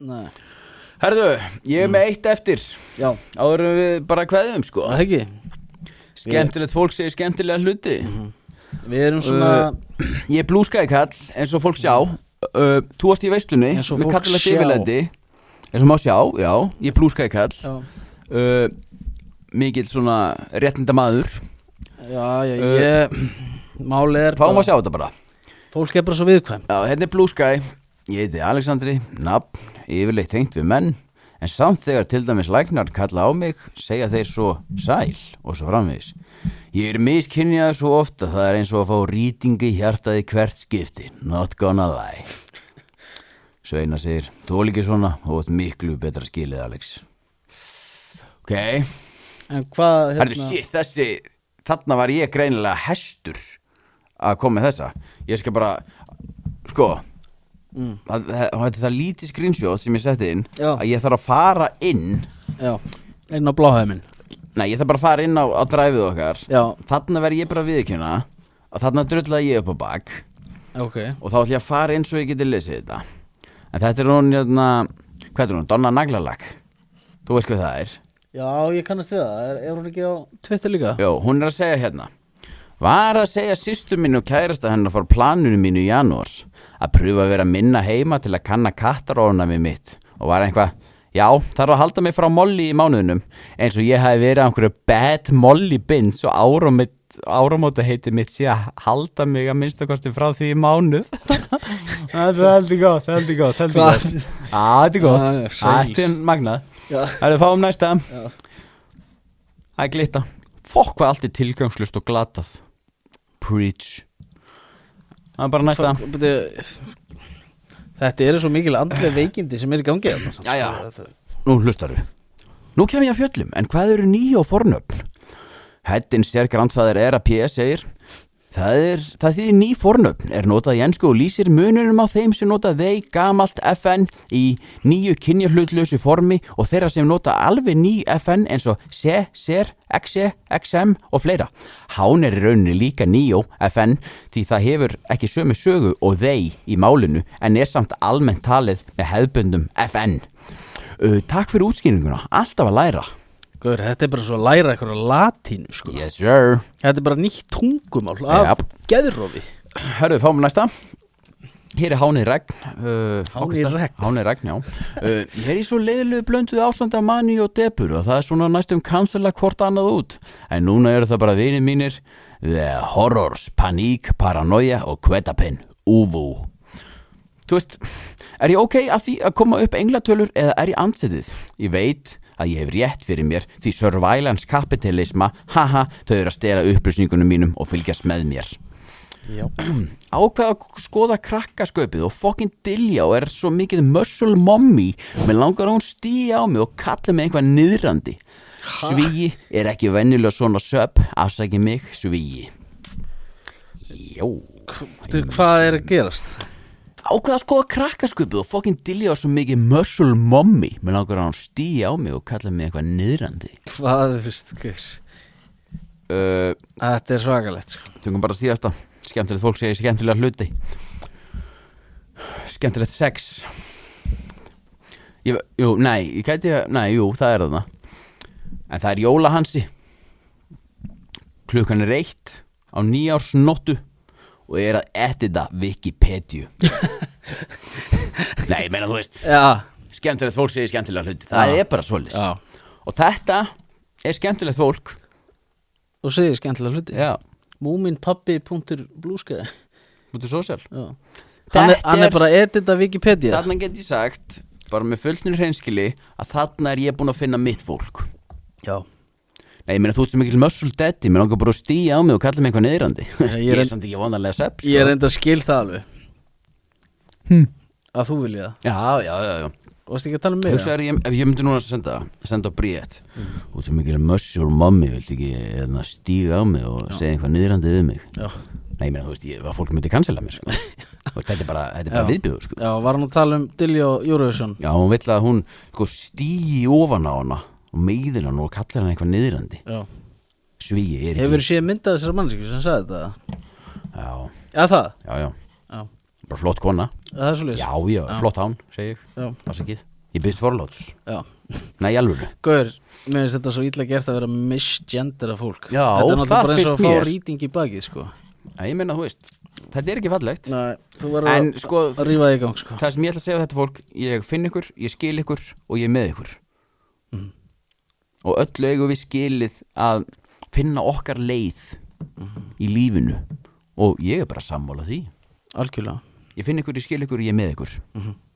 Nei, Herðu, ég er Mm. með eitt eftir já, Áður en við bara kveðum sko það ekki Skemmtilegt fólk segir skemmtilega hluti Mhm. Við erum svona, Ég er blúskæði kall eins og fólk sjá uh, Þú varst í veislunni Eins og með fólk kallilegt sjá. yfirlæti Eins og má sjá, já Ég er blúskæði kall já, uh, Mikill svona réttinda maður já, já, ég Málið er uh, Fáum bara- að sjá þetta bara Fólk er bara svo viðkvæm Já, hérna er Blue Sky Ég heiti Alexandri, nafn, yfirleitt tengt við menn En samt þegar til dæmis læknar kalla á mig Segja þeir svo sæl og svo framvegis Ég er miskynjaður svo oft að Það er eins og að fá rýtingi hjartaði hvert skipti Not gonna lie Sveina segir Þú líki svona og ert miklu betra skilið Alex Ok, hérna. En hvað, hérna- herðu shit þessi Þarna var ég greinilega hestur Að koma með þessa Ég skal bara, sko mm, það, það, það, það lítið screenshot sem ég setti inn Já. að ég þarf að fara inn Já, einn á bláhæmin nei, ég þarf bara að fara inn á, á dræfið okkar Já, þarna verð ég bara viðkjöna og þarna drullaði ég upp á bak ok og þá ætlum ég að fara inn svo ég geti lesið þetta en þetta er hún, hérna, hvað er hún, Donna Naglalag þú veist hvað það er Já, ég kannast við það, er, er hún ekki á Twitter líka? Jó, hún er að segja hérna Var að segja sýstu mínu og kærasta hennar fór planinu mínu í janúar að pröfa að vera minna heima til að kanna kattarónami mitt og var einhvað Já, þarf að halda mig frá molli í mánuðinum eins og ég hafi verið á einhverju bad molli bins og áramóta heiti mitt sé að halda mig að minnstakosti frá því í mánuð Það er heldur gott, það er heldur gott, heldur Hvað? gott Á, Þetta er gott, Ah, sæl. þetta er magnað Já, Það er fáum næsta Já. Það er glitta Fokk hvað allt er tilgangslust og glatað Preach Það er bara næsta Fuck, byrju, Þetta eru svo mikil andlega veikindi sem er í gangi þarna, samt, Jæja. sko, þetta- Nú hlustar við Nú kem ég að fjöllum En hvað eru nýja og fornöfn? Hættin sér grandfæðir er að PS segir Það, er, það þýðir ný fornöfn er notað í ensku og lýsir mununum á þeim sem nota þeir gamalt FN í nýju kynjahlutlösu formi og þeirra sem nota alveg ný FN eins og C, SER, XE, XM og fleira. Hán er í rauninni líka nýjó FN því það hefur ekki sömu sögu og þeir í málinu en er samt almennt talið með hefbundum FN. Uh, takk fyrir útskýringuna, alltaf að læra. Guður, þetta er bara svo að læra eitthvað latínu sko. Yes sir. Þetta er bara nýtt tungumál af Jap. geðrófi Hörðu, fáum við næsta Hér er Háni Regn uh, Háni ágætast- Regn. Háni Regn, já uh, Ég er í svo leiðilegu blönduð ástand af manni og depur og það er svona næstum kansla hvort annað út en núna eru það bara vinir mínir The Horrors, Paník, Paranoia og Kvetapinn, Uvu Þú veist, er ég ok að því að koma upp englatölur eða er ég ansetið? Ég veit að ég hef rétt fyrir mér því surveillance kapitalisma, haha, þau eru að stela upplýsningunum mínum og fylgjast með mér Já, ákveða að skoða krakkasköpið og fokkin dilja og er svo mikið muscle mommy með langar að hún stíja á mig og kalla mig einhvað niðrandi Svíi er ekki venjulega svona söp afsæki mig svíi Jó Þú, hvað er að gerast? ákveða að skoða krakkasköpið og fokkin dilja og svo mikið muscle mommy með langar að hún stíja á mig og kalla mig einhvað niðrandi Hvað fyrst, guður? uh, Þetta er svakalegt sko. Tökum bara síðasta Skemmtilegt fólk segir skemmtilega hluti Skemmtilegt sex ég, Jú, nei, ég gæti Nei, jú, það er þarna En það er jólahansi Klukkan er eitt Á nýjársnóttu Og er að edita Wikipedia Nei, ég meina þú veist Já, Skemmtilegt fólk segir skemmtilega hluti Það Já. er bara svolis já Og þetta er skemmtilegt fólk Þú segir skemmtilega hluti Já, Múminpappi.blúska mútið sósjál hann, er- Þetta hann er er- bara að edita Wikipedia Þarna get ég sagt, bara með fullnir hreinskili að þarna er ég búinn að finna mitt fólk Já Nei, ég meina þú ert sem mikil muscle daddy mér langar bara að stíja á mig og kalla mig eitthvað neyðrandi ég Ég er er en- samt ekki sko. vanarlega sepp Ég er enda að skil það alveg hm. Hm. Að þú vilja það Já, já, já, já Varst ekki að tala um mig Hugsa er ég, ef ég myndi núna að senda senda á bríett Mm. Þú ert sem mikil muscle mommy vilt ekki hérna, stíga á mig og segja eitthvað neyðrandi við mig Já, Nei, ég meina, þú veist, ég, að fólk myndi cancela mér sko. Þú veist, Þetta er bara, þetta er bara Já. viðbjöður sko. já var hann að tala um Dilly og Eurovision Já, hún vill að hún sko, stígi ofan á hana og meiðir hann og kallar hann eitthvað neyðrandi Já Svíi er ekki Hefur séð myndað þessar mannskjöf sem sagði þetta Já, Já það já, já Já bara flott kona Það er svolítið Já, já, flott hán, segi ég Já. Afsakið. Ég byrst forlóts Já. Nei, í alvöru Gaur, mér finnst þetta svo illa gert að vera misgendera fólk Já, Þetta er náttúrulega það bara eins og að finnst mér. fá rýting í baki sko. Nei, ég meina, þú veist Þetta er ekki fallegt Nei, þú verður En að- sko, að rífa þig í gang sko. það sem ég ætla að segja við þetta fólk Ég finn ykkur, ég skil ykkur og ég er með ykkur Mhm. Og öllu eigum við skilið að finna okkar leið Mhm. í lífinu Og ég er bara sammála því Algjörlega Ég finn ykkur, ég skil ykkur, ég er með ykkur Mhm.